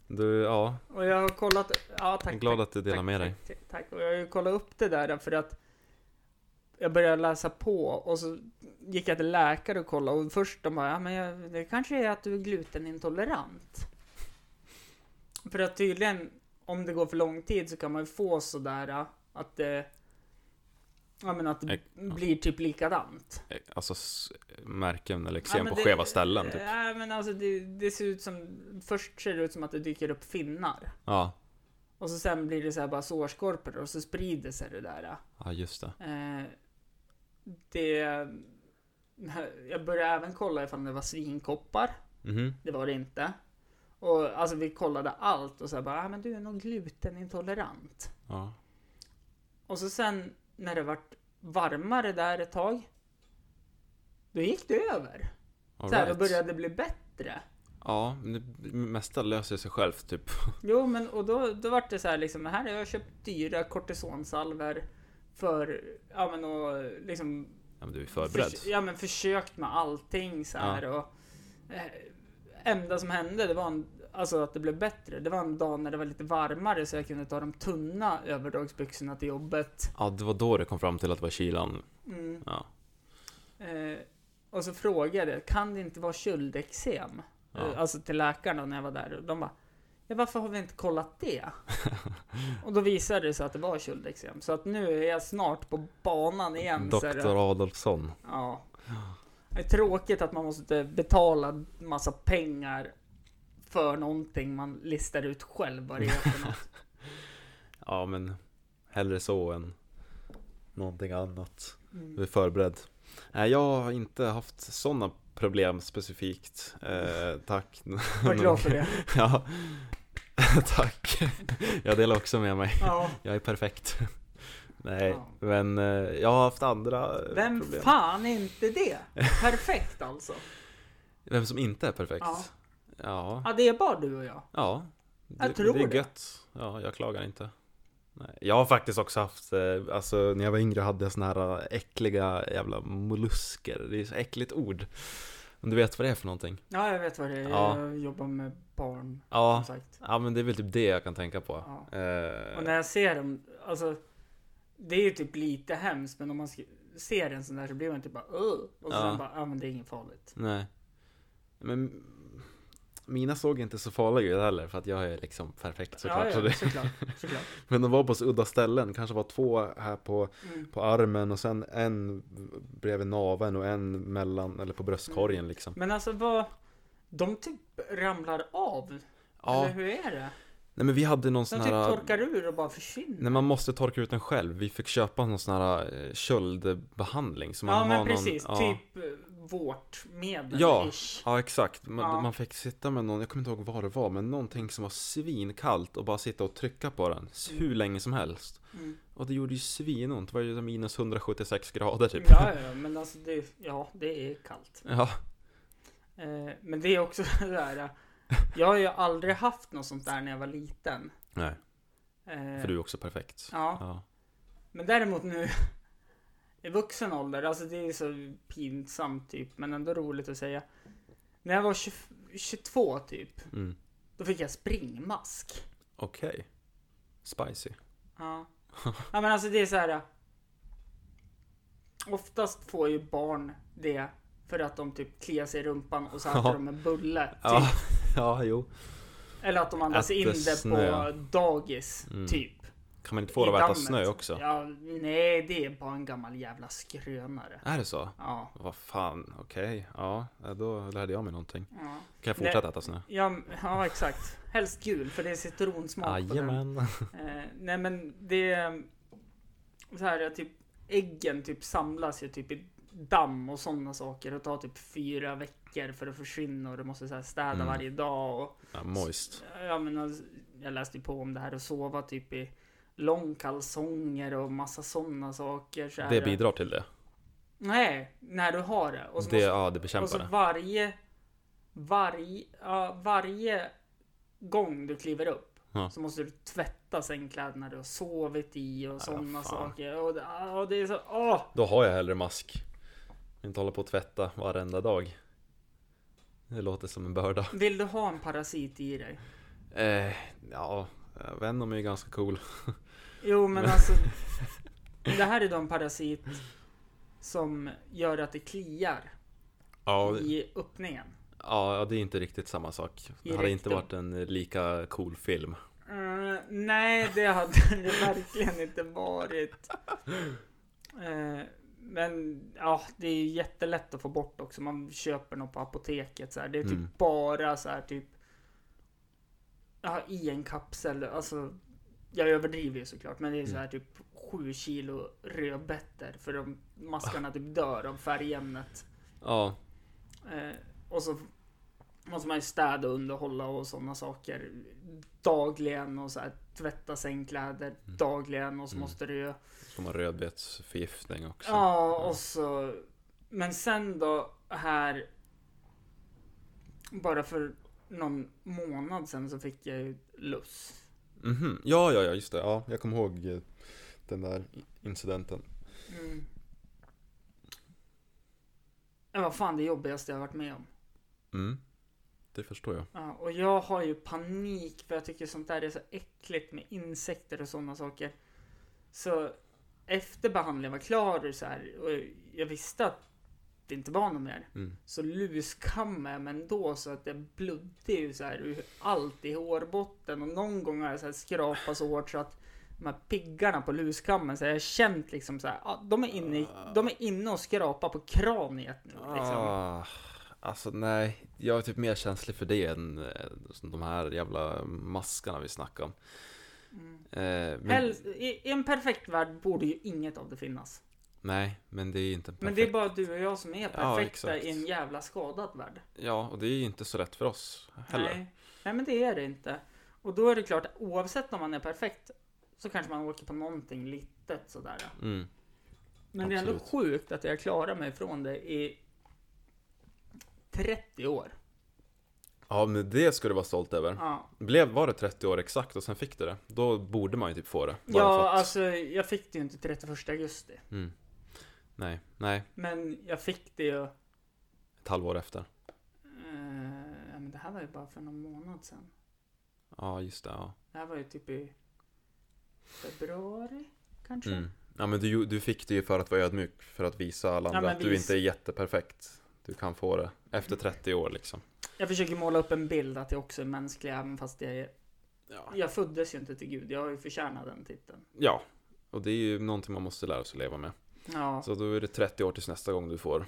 Speaker 3: Du, ja,
Speaker 1: Och jag har kollat... Ja,
Speaker 3: jag
Speaker 1: tack.
Speaker 3: är glad
Speaker 1: tack.
Speaker 3: att du delar
Speaker 1: Tack,
Speaker 3: med dig.
Speaker 1: tack, Tack, tack. Och jag har ju kollat upp det där för att jag började läsa på och så gick jag till läkare och kollade och först de bara, ja men jag, det kanske är att du är glutenintolerant. För att tydligen, om det går för lång tid så kan man ju få sådär äh, att det, ja men att det
Speaker 3: Ek-
Speaker 1: blir typ likadant.
Speaker 3: Eh, Alltså s- märken eller
Speaker 1: Ja,
Speaker 3: eksem
Speaker 1: men
Speaker 3: på
Speaker 1: det-
Speaker 3: skeva ställen typ.
Speaker 1: Ja men alltså det, det ser ut som, först ser det ut som att det dyker upp finnar.
Speaker 3: Ja,
Speaker 1: Och så sen blir det så här bara sårskorpor och så sprider sig det där. äh.
Speaker 3: ja just det.
Speaker 1: Eh, det... Jag började även kolla ifall det var svinkoppar.
Speaker 3: Mhm.
Speaker 1: Det var det inte. Och alltså vi kollade allt och så här bara, ah, men du är nog glutenintolerant.
Speaker 3: Ja.
Speaker 1: Och så sen när det vart varmare där ett tag. Då gick det över.
Speaker 3: All
Speaker 1: Så här, då
Speaker 3: right.
Speaker 1: började det bli bättre.
Speaker 3: Ja, men det mesta löser sig självt typ.
Speaker 1: Jo, men och då, då vart det så här liksom, här har jag köpt dyra kortisonsalver för, ja men och liksom
Speaker 3: Ja, men du är förberedd.
Speaker 1: Förs- ja men försökt med allting så här och... Eh, enda som hände, det var en, alltså att det blev bättre. Det var en dag när det var lite varmare så jag kunde ta de tunna överdragsbyxorna till jobbet.
Speaker 3: Ja, det var då det kom fram till att det var kylan.
Speaker 1: Mm.
Speaker 3: Ja.
Speaker 1: Eh, och så frågade jag, kan det inte vara köldexem?
Speaker 3: Ja.
Speaker 1: Eh, alltså till läkaren då när jag var där. Och de bara, ja varför har vi inte kollat det? och då visade det sig att det var köldexem. Så att nu är jag snart på banan igen. så här.
Speaker 3: Doktor Adolfsson.
Speaker 1: Ja. Det är tråkigt att man måste betala massa typ pengar för någonting man listar ut själv vad det är för något.
Speaker 3: Ja, men hellre så än någonting annat. Du är
Speaker 1: Mm.
Speaker 3: förberedd. Nej, jag har inte haft sådana problem specifikt. Eh, tack.
Speaker 1: Var glad för det.
Speaker 3: ja. tack. Jag delar också med mig.
Speaker 1: Ja.
Speaker 3: Jag är perfekt. Nej,
Speaker 1: Ja.
Speaker 3: men eh, jag har haft andra eh,
Speaker 1: Vem
Speaker 3: problem.
Speaker 1: fan är inte det? Perfekt alltså.
Speaker 3: Vem som inte är perfekt?
Speaker 1: Ja.
Speaker 3: Ja.
Speaker 1: Ja, det är bara du och jag.
Speaker 3: Ja, det,
Speaker 1: Jag tror
Speaker 3: det är
Speaker 1: det.
Speaker 3: gött. Ja, jag klagar inte. Nej. Jag har faktiskt också haft, eh, alltså när jag var yngre hade jag såna här eh, äckliga jävla mollusker. Det är så äckligt ord. Om du vet vad det är för någonting?
Speaker 1: Ja, jag vet vad det är.
Speaker 3: Ja.
Speaker 1: Jag jobbar med barn,
Speaker 3: Ja,
Speaker 1: som sagt.
Speaker 3: ja men det är väl typ det jag kan tänka på.
Speaker 1: Ja.
Speaker 3: Eh,
Speaker 1: Och när jag ser dem, alltså. Det är ju typ lite hemskt, men om man sk- ser en sån där så blir man typ bara Ugh! Och
Speaker 3: Ja.
Speaker 1: sen bara, ja men det är inget farligt.
Speaker 3: nej. Men mina såg inte så farliga ut heller för att jag är liksom perfekt såklart.
Speaker 1: ja,
Speaker 3: Så
Speaker 1: ja,
Speaker 3: det,
Speaker 1: såklart. såklart.
Speaker 3: men de var på så udda ställen, kanske var två här på
Speaker 1: Mm.
Speaker 3: på armen och sen en bredvid naveln och en mellan, eller på bröstkorgen liksom.
Speaker 1: Men alltså vad, de typ ramlar av?
Speaker 3: Ja,
Speaker 1: Eller hur är det?
Speaker 3: nej men vi hade någon
Speaker 1: De
Speaker 3: sån
Speaker 1: typ torkar
Speaker 3: här...
Speaker 1: ur och bara försvinner.
Speaker 3: När man måste torka ut den själv. Vi fick köpa någon sån här eh, köldbehandling. Så man
Speaker 1: ja
Speaker 3: har
Speaker 1: men precis,
Speaker 3: någon, ja.
Speaker 1: typ eh, vårtmedel
Speaker 3: Ja.
Speaker 1: ish.
Speaker 3: Ja exakt, man,
Speaker 1: Ja.
Speaker 3: man fick sitta med någon, jag kommer inte ihåg vad det var, men någonting som var svinkallt och bara sitta och trycka på den s- hur länge som helst.
Speaker 1: Mm.
Speaker 3: Och det gjorde ju svinont, det var ju minus 176 grader typ.
Speaker 1: Ja, ja, men alltså det, ja, det är kallt.
Speaker 3: Ja,
Speaker 1: Eh, men det är också det där. eh, Jag har ju aldrig haft något sånt där när jag var liten.
Speaker 3: nej,
Speaker 1: Eh,
Speaker 3: för du är också perfekt.
Speaker 1: Ja,
Speaker 3: Ja,
Speaker 1: men däremot nu i vuxen ålder, alltså det är så pinsamt typ, men ändå roligt att säga. När jag var 20, 22 typ,
Speaker 3: mm.
Speaker 1: då fick jag springmask.
Speaker 3: okej. Spicy.
Speaker 1: Ja. ja men alltså det är så här. eh, Oftast får ju barn det för att de typ kliar sig i rumpan och så äter
Speaker 3: Ja.
Speaker 1: de en bulle. Typ.
Speaker 3: Ja, ja jo.
Speaker 1: Eller att de andas
Speaker 3: Äter
Speaker 1: in det
Speaker 3: snö.
Speaker 1: på dagis,
Speaker 3: Mm.
Speaker 1: typ.
Speaker 3: Kan man inte
Speaker 1: I
Speaker 3: få dem att äta
Speaker 1: dammet.
Speaker 3: snö också?
Speaker 1: Ja, nej, det är bara en gammal jävla skrönare.
Speaker 3: Är det så?
Speaker 1: Ja.
Speaker 3: Vad fan, okej. Ja, då lärde jag mig någonting.
Speaker 1: Ja,
Speaker 3: Kan jag fortsätta äta snö?
Speaker 1: ja, m- ja exakt. Helst gul, för det är citronsmak på den.
Speaker 3: Jajamän.
Speaker 1: Eh, nej, men det... är, mm, Så här, jag typ, äggen typ samlas ju typ i damm och sådana saker och tar typ fyra veckor för att försvinna och du måste så här städa
Speaker 3: Mm.
Speaker 1: varje dag och
Speaker 3: Ja, moist.
Speaker 1: Ja men alltså, jag läste ju på om det här och sova typ i långkalsonger och massa sådana saker. Så här.
Speaker 3: Det bidrar till det.
Speaker 1: Nej, när du har det. Och så,
Speaker 3: Det, ja, det
Speaker 1: måste, och
Speaker 3: bekämpar
Speaker 1: så
Speaker 3: det.
Speaker 1: varje, varje, ja, varje gång du kliver upp
Speaker 3: Ja.
Speaker 1: så måste du tvätta sängkläderna du har sovit i och sådana
Speaker 3: fan.
Speaker 1: saker. Och, det- ja, och det är så, åh!
Speaker 3: Då har jag hellre mask. Inte hålla på och tvätta varenda dag. Det låter som en börda.
Speaker 1: Vill du ha en parasit i dig?
Speaker 3: Eh, ja, Venom är ju ganska cool.
Speaker 1: Jo men alltså Det här är de parasit Som gör att det kliar
Speaker 3: Ja, det-
Speaker 1: i öppningen
Speaker 3: ja, det är inte riktigt samma sak.
Speaker 1: I
Speaker 3: Det hade inte
Speaker 1: rektum.
Speaker 3: varit en lika cool film.
Speaker 1: Mm, Nej det hade det verkligen inte varit Eh, Men ja det är ju jättelätt att få bort också Man köper något på apoteket så här. Det är typ
Speaker 3: Mm.
Speaker 1: bara så här typ Ja i en kapsel alltså jag överdriver ju såklart men det är så här typ 7 kilo rödbetor för de maskarna typ dör av färgämnet.
Speaker 3: Ja,
Speaker 1: Eh, och så måste man ju städa och underhålla och sådana saker dagligen och så här, tvätta sängkläder dagligen och så
Speaker 3: Mm.
Speaker 1: måste du ju...
Speaker 3: så får man rödbetsförgiftning också. Mm.
Speaker 1: Ja, och så... Men sen då här... Bara för någon månad sen så fick jag ju luss.
Speaker 3: Mhm. Ja, ja, ja, just det. Ja, jag kommer ihåg eh, den där incidenten.
Speaker 1: Mm. Det var fan det jobbigaste jag varit med om.
Speaker 3: Mm. Det förstår jag.
Speaker 1: Ja, och jag har ju panik för jag tycker sånt där är så äckligt med insekter och sådana saker. Så efter behandlingen var klar och så här, och jag visste att det inte var något mer.
Speaker 3: Mm.
Speaker 1: Så luskammade jag mig ändå så att det blödde ju så här ur allt i hårbotten och någon gång har jag så här skrapat så hårt så att de här piggarna på luskammen så har jag känt liksom så här, ah, de är inne, i- de är inne och skrapar på kraniet nu liksom.
Speaker 3: Ah, Alltså nej, jag är typ mer känslig för det än eh, de här jävla maskarna vi snackar om.
Speaker 1: Mm.
Speaker 3: Eh, men,
Speaker 1: Helst, i, I en perfekt värld borde ju inget av det finnas.
Speaker 3: Nej, men det är ju inte perfekt.
Speaker 1: Men det är bara du och jag som är perfekta
Speaker 3: exakt.
Speaker 1: i en jävla skadad värld.
Speaker 3: Ja, och det är ju inte så lätt för oss heller.
Speaker 1: Nej. Nej, men det är det inte. Och då är det klart, oavsett om man är perfekt så kanske man åker på någonting litet sådär.
Speaker 3: Mm.
Speaker 1: Men det är ändå
Speaker 3: Absolut.
Speaker 1: sjukt att jag klarar mig från det i 30 år.
Speaker 3: Ja, men det ska du vara stolt över.
Speaker 1: Ja,
Speaker 3: Blev, var det 30 år exakt och sen fick du det? Då borde man ju typ få det. Bara för
Speaker 1: ja
Speaker 3: att-
Speaker 1: alltså jag fick det ju inte 31 augusti.
Speaker 3: Mm. Nej, nej,
Speaker 1: Men jag fick det ju... Eh,
Speaker 3: ett halvår efter.
Speaker 1: ja, men det här var ju bara för någon månad sedan.
Speaker 3: Ja, just det. Ja.
Speaker 1: Det här var ju typ i februari kanske.
Speaker 3: Mm. Ja, men du, du fick det ju för att vara ödmjuk, för att visa alla
Speaker 1: Ja,
Speaker 3: andra
Speaker 1: men
Speaker 3: att du
Speaker 1: vis-
Speaker 3: inte är jätteperfekt. Du kan få det efter 30 år liksom.
Speaker 1: Jag försöker måla upp en bild att jag också är mänsklig även fast jag är...
Speaker 3: Ja.
Speaker 1: Jag föddes ju inte till Gud, jag har ju förtjänat den titeln.
Speaker 3: ja, och det är ju någonting man måste lära sig att leva med.
Speaker 1: Ja,
Speaker 3: Så då är det 30 år tills nästa gång du får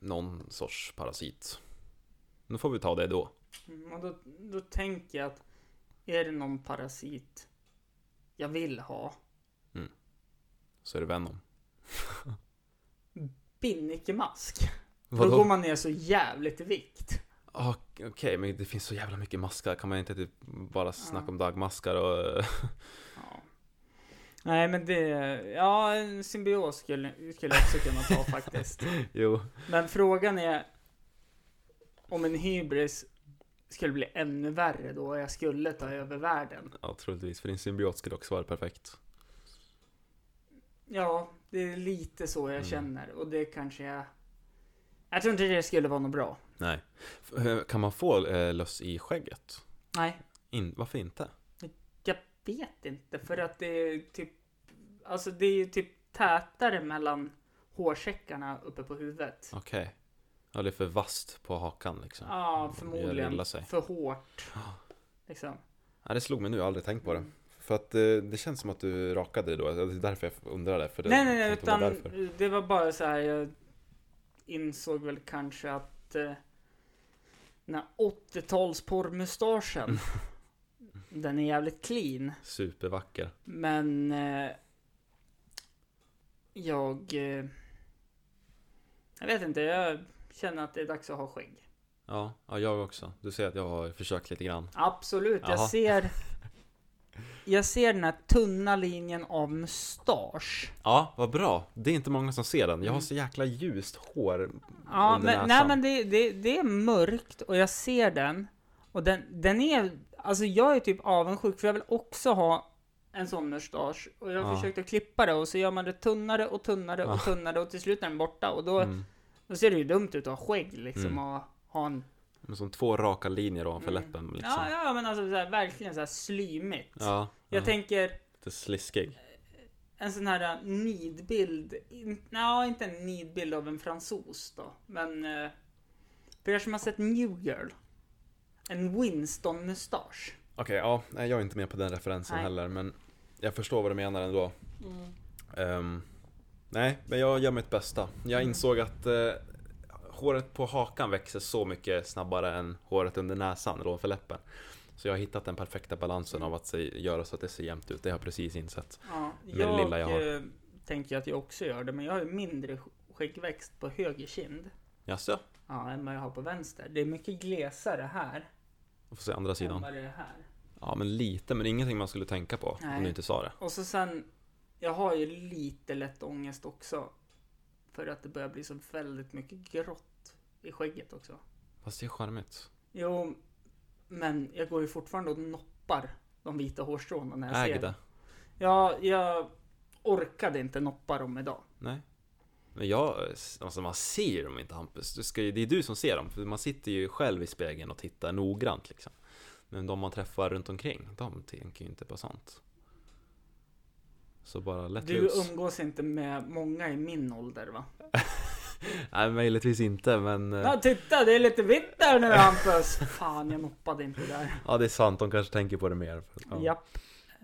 Speaker 3: någon sorts parasit. Då får vi ta det då.
Speaker 1: mm, och då, då tänker jag att är det någon parasit jag vill ha?
Speaker 3: Så är det Venom.
Speaker 1: Binnikemask. Då går
Speaker 3: Vadå?
Speaker 1: man ner så jävligt i vikt.
Speaker 3: Ah, Okej, men det finns så jävla mycket maskar. Kan man inte typ bara snacka om dagmaskar och...
Speaker 1: Ja. Nej men det, ja en symbios skulle, skulle jag också kunna ta faktiskt.
Speaker 3: jo.
Speaker 1: Men frågan är om en hybris skulle bli ännu värre då och jag skulle ta över världen.
Speaker 3: Ja, troligtvis. För din symbiot skulle också vara perfekt.
Speaker 1: Ja, det är lite så jag
Speaker 3: Mm.
Speaker 1: känner och det kanske jag... Jag tror inte det skulle vara något bra.
Speaker 3: Nej. F- eh, Kan man få eh, löss i skägget?
Speaker 1: Nej,
Speaker 3: In, varför inte?
Speaker 1: jag vet inte för att det är typ... Alltså det är ju typ tätare mellan hårsäckarna uppe på huvudet.
Speaker 3: Okej. Ja, det är för vasst på hakan liksom.
Speaker 1: Ja,
Speaker 3: Jag
Speaker 1: förmodligen.
Speaker 3: rullar sig.
Speaker 1: För hårt. Liksom.
Speaker 3: Ja, det slog mig nu. Jag har aldrig tänkt på det. För att eh, det känns som att du rakade dig då. Alltså, Det är därför jag undrade. För det
Speaker 1: nej, nej, nej,
Speaker 3: tänkte vara
Speaker 1: utan
Speaker 3: därför.
Speaker 1: det var bara så här. Jag insåg väl kanske att eh, den här 80-tals porrmustaschen, den är jävligt clean.
Speaker 3: Supervacker.
Speaker 1: Men eh, jag, eh, jag vet inte, jag känner att det är dags att ha skägg.
Speaker 3: Ja, ja, jag också. Du ser att jag har försökt lite grann.
Speaker 1: Absolut,
Speaker 3: Jaha.
Speaker 1: jag ser jag ser den här tunna linjen av mustasch.
Speaker 3: Ja, vad bra. Det är inte många som ser den. Jag
Speaker 1: Mm.
Speaker 3: har så jäkla ljust hår.
Speaker 1: Ja,
Speaker 3: under
Speaker 1: men,
Speaker 3: näsan.
Speaker 1: nej, men det, det, det är mörkt och jag ser den. Och den, den är, alltså jag är typ avundsjuk för jag vill också ha en sån mustasch. Och jag
Speaker 3: Ja.
Speaker 1: försökte klippa det och så gör man det tunnare och tunnare och tunnare och till slut är den borta. Och då,
Speaker 3: Mm.
Speaker 1: då ser det ju dumt ut att ha skägg liksom
Speaker 3: Mm.
Speaker 1: och ha en...
Speaker 3: Men Som två raka linjer ovanför
Speaker 1: Mm.
Speaker 3: läppen liksom.
Speaker 1: Ja, ja men alltså så här, verkligen så här slymigt.
Speaker 3: ja.
Speaker 1: Jag
Speaker 3: ja.
Speaker 1: tänker
Speaker 3: Lite sliskig.
Speaker 1: en sån här äh, nidbild. In, nej, inte en nidbild av en fransos då. Men eh, för er som har sett New Girl. En Winston-mustasch.
Speaker 3: Okej, ja. Nej, jag är inte med på den referensen
Speaker 1: Nej.
Speaker 3: heller. Men jag förstår vad du menar ändå. Ehm, nej, men jag gör mitt bästa. Jag insåg att eh, håret på hakan växer så mycket snabbare än håret under näsan eller ovanför läppen. Så jag har hittat den perfekta balansen av att se, göra så att det ser jämnt ut. Det har jag precis insett.
Speaker 1: Ja,
Speaker 3: det
Speaker 1: jag,
Speaker 3: lilla jag har.
Speaker 1: eh, tänker att jag också gör det, men jag har ju mindre sk- skäggväxt på höger kind.
Speaker 3: Jaså?
Speaker 1: Ja, än vad jag har på vänster. Det är mycket glesare här
Speaker 3: Får se andra
Speaker 1: än
Speaker 3: sidan.
Speaker 1: vad det är här.
Speaker 3: Ja, men lite. Men ingenting man skulle tänka på om
Speaker 1: Nej.
Speaker 3: du inte sa det.
Speaker 1: Och så sen, jag har ju lite lätt ångest också. För att det börjar bli så väldigt mycket grått i skägget också.
Speaker 3: Fast det är charmigt.
Speaker 1: Jo, men jag går ju fortfarande och noppar de vita hårstråna när jag
Speaker 3: Äg
Speaker 1: ser dem.
Speaker 3: det.
Speaker 1: Ja, jag orkade inte noppa dem idag.
Speaker 3: Nej. Men jag, alltså man ser dem inte Hampus. Du ska, ju- det är du som ser dem. För man sitter ju själv i spegeln och tittar noggrant liksom. Men de man träffar runt omkring, de tänker ju inte på sånt. Så bara let
Speaker 1: Du
Speaker 3: loose.
Speaker 1: umgås inte med många i min ålder va?
Speaker 3: Nej, möjligtvis inte men... eh,
Speaker 1: Ja, titta det är lite vitt där nu Hampus! Fan, jag noppade inte där.
Speaker 3: Ja, det är sant. De kanske tänker på det mer. Ja.
Speaker 1: Japp.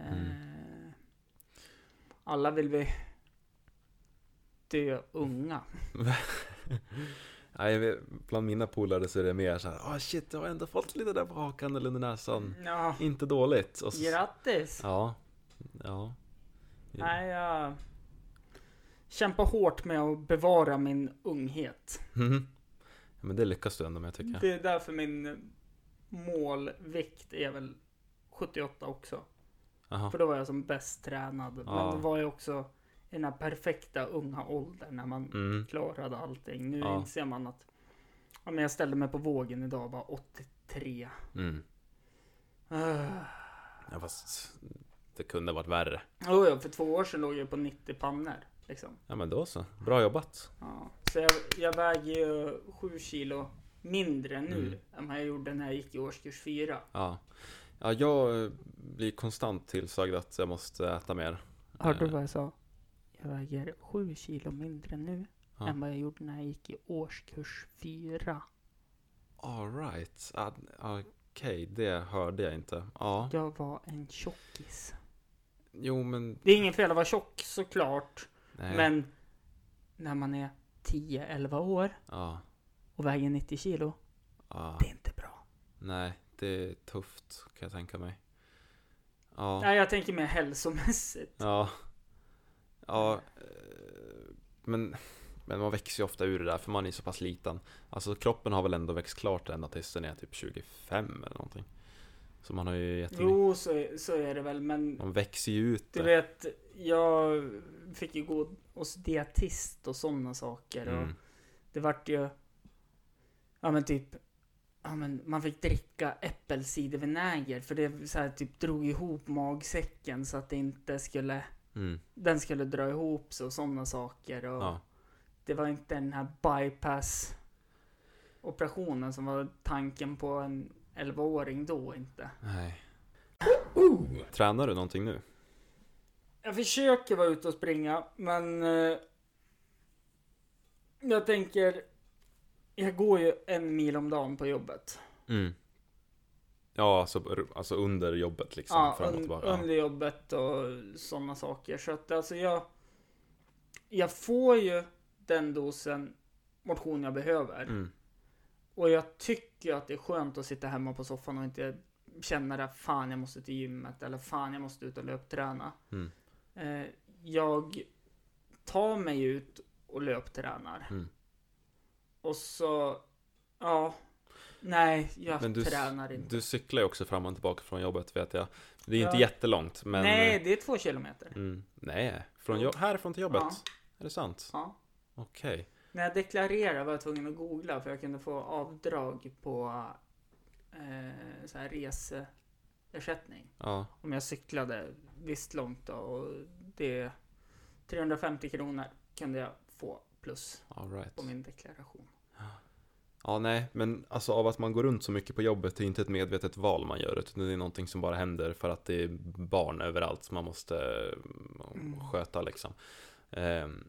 Speaker 3: Mm.
Speaker 1: Eh, Alla vill vi dö unga.
Speaker 3: Nej, jag vet, bland mina polare så är det mer så här, ah shit, jag har ändå fått lite där på hakan eller under näsan.
Speaker 1: Ja,
Speaker 3: Inte dåligt. Och så,
Speaker 1: grattis!
Speaker 3: ja. Ja.
Speaker 1: Nej, jag kämpar hårt med att bevara min unghet.
Speaker 3: Mhm. Ja, Men det lyckas du ändå med tycker jag.
Speaker 1: Det är därför min målvikt är väl 78 också.
Speaker 3: Aha.
Speaker 1: För då var jag som bäst tränad. Men
Speaker 3: Ja.
Speaker 1: då var jag också i den här perfekta unga åldern när man
Speaker 3: Mm.
Speaker 1: klarade allting. Nu
Speaker 3: Ja.
Speaker 1: inser man att ja, men jag ställde mig på vågen idag och var 83.
Speaker 3: Mm.
Speaker 1: Uh.
Speaker 3: Ja, fast det kunde varit värre.
Speaker 1: Oh, ja, för två år sedan låg jag på 90 pannor. Liksom.
Speaker 3: Ja men då så. Bra jobbat.
Speaker 1: Ja. Så jag, jag väger ju 7 kilo mindre nu
Speaker 3: Mm.
Speaker 1: än vad jag gjorde när jag gick i årskurs 4.
Speaker 3: Ja. Ja, jag eh, blir konstant tillsagd att jag måste äta mer.
Speaker 1: Hörde du
Speaker 3: Eh,
Speaker 1: vad jag sa? Jag väger 7 kilo mindre nu
Speaker 3: Ja.
Speaker 1: än vad jag gjorde när jag gick i årskurs 4.
Speaker 3: All right. Ah, Okej, det hörde jag inte. Ja.
Speaker 1: Jag var en tjockis.
Speaker 3: Jo, men...
Speaker 1: Det är ingen fel att vara tjock såklart,
Speaker 3: Nej.
Speaker 1: men när man är 10-11 år
Speaker 3: Ja.
Speaker 1: och väger 90 kilo,
Speaker 3: ja.
Speaker 1: det är inte bra.
Speaker 3: Nej, det är tufft kan jag tänka mig. Ja.
Speaker 1: Nej, jag tänker mer hälsomässigt.
Speaker 3: Ja. Ja. eh, Men, men man växer ju ofta ur det där för man är så pass liten. Alltså kroppen har väl ändå växt klart ända tills den är typ 25 eller någonting. Så man har ju jättemycket.
Speaker 1: Jo, så, är- så är det väl, men
Speaker 3: Man växer ju ut
Speaker 1: Du
Speaker 3: det.
Speaker 1: vet, jag fick ju gå hos dietist och sådana saker. Och
Speaker 3: Mm.
Speaker 1: det vart ju... Ja men typ... Ja men man fick dricka äppelcidervinäger för det så här, typ drog ihop magsäcken så att det inte skulle...
Speaker 3: Mm.
Speaker 1: Den skulle dra ihop sig och sådana saker. Och
Speaker 3: Ja.
Speaker 1: Det var inte den här bypass operationen som var tanken på en 11-åring då inte.
Speaker 3: Nej. Tränar du någonting nu?
Speaker 1: Jag försöker vara ute och springa, men... Eh, jag tänker... Jag går ju en mil om dagen på jobbet.
Speaker 3: Mm. Ja, alltså, alltså under jobbet liksom. fram och
Speaker 1: un-
Speaker 3: tillbaka.
Speaker 1: under jobbet och sådana saker. Så att alltså jag... Jag får ju den dosen motion jag behöver.
Speaker 3: Ja. Mm.
Speaker 1: Och jag tycker att det är skönt att sitta hemma på soffan och inte känna det här, fan jag måste till gymmet eller fan jag måste ut och löpträna.
Speaker 3: Mm.
Speaker 1: Eh, jag tar mig ut och löptränar.
Speaker 3: Mm.
Speaker 1: Och så, ja. Nej, jag
Speaker 3: Men du,
Speaker 1: tränar inte.
Speaker 3: du cyklar ju också fram och tillbaka från jobbet vet jag. Det är ju
Speaker 1: Ja.
Speaker 3: inte jättelångt men...
Speaker 1: Nej, det är två kilometer.
Speaker 3: Mm. Nej, från jobb, härifrån till jobbet?
Speaker 1: Ja.
Speaker 3: Är det sant?
Speaker 1: Ja.
Speaker 3: Okej.
Speaker 1: När jag deklarerade var jag tvungen att googla för jag kunde få avdrag på eh, så här reseersättning.
Speaker 3: Ja.
Speaker 1: Om jag cyklade visst långt då, och det 350 kronor kunde jag få plus
Speaker 3: All right.
Speaker 1: på min deklaration.
Speaker 3: Ja, nej, men alltså av att man går runt så mycket på jobbet det är inte ett medvetet val man gör utan det är någonting som bara händer för att det är barn överallt som man måste eh,
Speaker 1: Mm.
Speaker 3: sköta liksom. Ehm,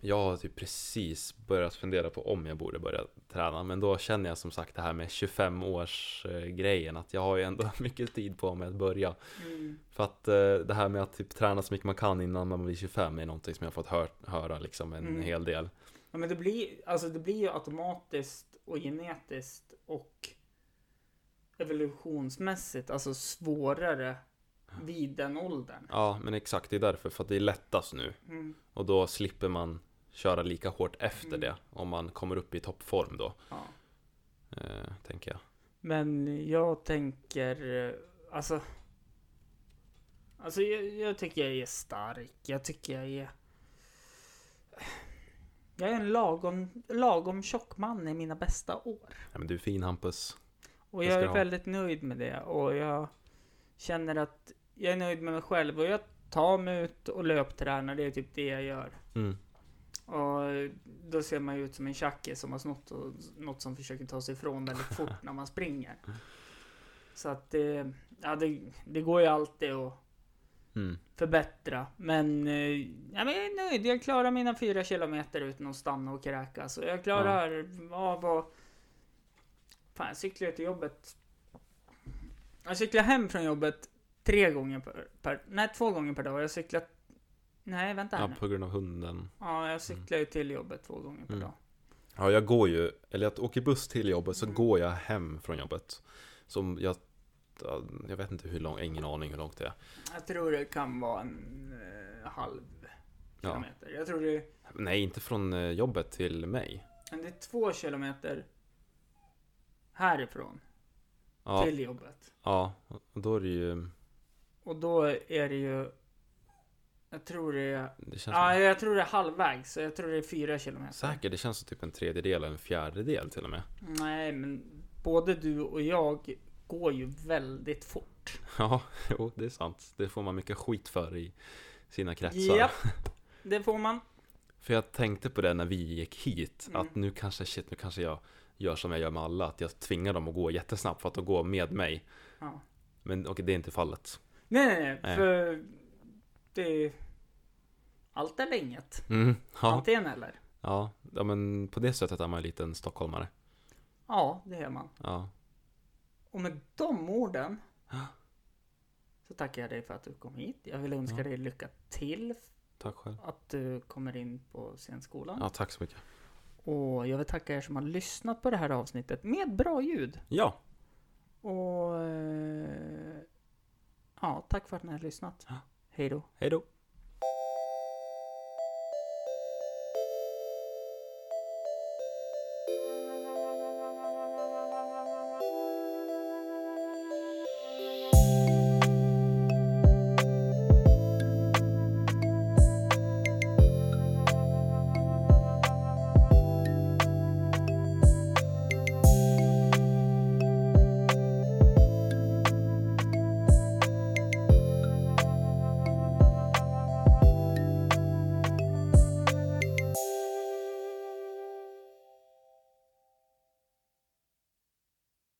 Speaker 3: Jag har typ precis börjat fundera på om jag borde börja träna men då känner jag som sagt det här med 25 års eh, grejen att jag har ju ändå mycket tid på mig att börja.
Speaker 1: Mm.
Speaker 3: För att eh, det här med att typ träna så mycket man kan innan man blir 25 är någonting som jag har fått hör, höra liksom en
Speaker 1: Mm.
Speaker 3: hel del.
Speaker 1: Ja, men det blir, alltså det blir ju automatiskt och genetiskt och evolutionsmässigt alltså svårare vid den åldern.
Speaker 3: Ja, men exakt, det är därför. För att det är lättast nu.
Speaker 1: Mm.
Speaker 3: Och då slipper man köra lika hårt efter
Speaker 1: Mm.
Speaker 3: det. Om man kommer upp i toppform då,
Speaker 1: Ja.
Speaker 3: eh, tänker jag.
Speaker 1: Men jag tänker, eh, alltså. Alltså jag, jag tycker jag är stark. Jag tycker jag är. Jag är en lagom, lagom tjock man i mina bästa år.
Speaker 3: Ja, men du är fin Hampus.
Speaker 1: Och
Speaker 3: Det ska
Speaker 1: jag
Speaker 3: du
Speaker 1: är
Speaker 3: ha.
Speaker 1: väldigt nöjd med det. Och jag känner att jag är nöjd med mig själv. Och jag tar mig ut och löptränar. Det är typ det jag gör.
Speaker 3: Mm.
Speaker 1: Och då ser man ju ut som en tjacke som har snott och, något som försöker ta sig ifrån väldigt fort när man springer. Så att det, ja, det, det går ju alltid att
Speaker 3: Mm.
Speaker 1: förbättra. Men, eh, ja, men jag är nöjd. Jag klarar mina fyra kilometer utan att stanna och kräkas. Och jag klarar av att... Fan, jag cyklar till jobbet. Jag cyklar hem från jobbet tre gånger per, per Nej, två gånger per dag. Jag cyklar... Nej, vänta här
Speaker 3: Ja,
Speaker 1: nu.
Speaker 3: på grund av hunden.
Speaker 1: Ja, jag cyklar ju till jobbet två gånger per
Speaker 3: Mm.
Speaker 1: dag.
Speaker 3: Ja, jag går ju, eller jag åker buss till jobbet,
Speaker 1: Mm.
Speaker 3: så går jag hem från jobbet. Som jag, jag vet inte hur långt, ingen aning hur långt det är.
Speaker 1: Jag tror det kan vara en eh, halv
Speaker 3: Ja.
Speaker 1: kilometer. Jag tror det,
Speaker 3: Nej, inte från eh, jobbet till mig.
Speaker 1: men det är två kilometer härifrån
Speaker 3: Ja,
Speaker 1: till jobbet.
Speaker 3: ja, och då är det ju,
Speaker 1: Och då är det ju... Jag tror det är...
Speaker 3: det känns
Speaker 1: Ja, jag tror det är halvvägs. Så jag tror det är fyra kilometer.
Speaker 3: Säkert, det känns som typ en tredjedel eller en fjärdedel till och med.
Speaker 1: Nej, men både du och jag går ju väldigt fort.
Speaker 3: Ja, jo, det är sant. Det får man mycket skit för i sina kretsar.
Speaker 1: Japp, det får man.
Speaker 3: För jag tänkte på det när vi gick hit,
Speaker 1: Mm.
Speaker 3: att nu kanske, shit, nu kanske jag gör som jag gör med alla, att jag tvingar dem att gå jättesnabbt för att de går med mig.
Speaker 1: Ja.
Speaker 3: Men okej, det är inte fallet.
Speaker 1: Nej, nej, nej.
Speaker 3: Nej.
Speaker 1: För det... Allt eller inget.
Speaker 3: Mm, ja,
Speaker 1: Antingen eller.
Speaker 3: ja, ja, men på det sättet är man ju lite en stockholmare.
Speaker 1: Ja, det är man.
Speaker 3: Ja,
Speaker 1: Och med de orden
Speaker 3: Ja.
Speaker 1: så tackar jag dig för att du kom hit. Jag vill önska
Speaker 3: Ja.
Speaker 1: dig lycka till
Speaker 3: tack själv.
Speaker 1: att du kommer in på scenskolan.
Speaker 3: Ja, tack så mycket.
Speaker 1: Och jag vill tacka er som har lyssnat på det här avsnittet med bra ljud.
Speaker 3: Ja,
Speaker 1: Och eh, ja, tack för att ni har lyssnat.
Speaker 3: Ja.
Speaker 1: Hej då.
Speaker 3: hej då.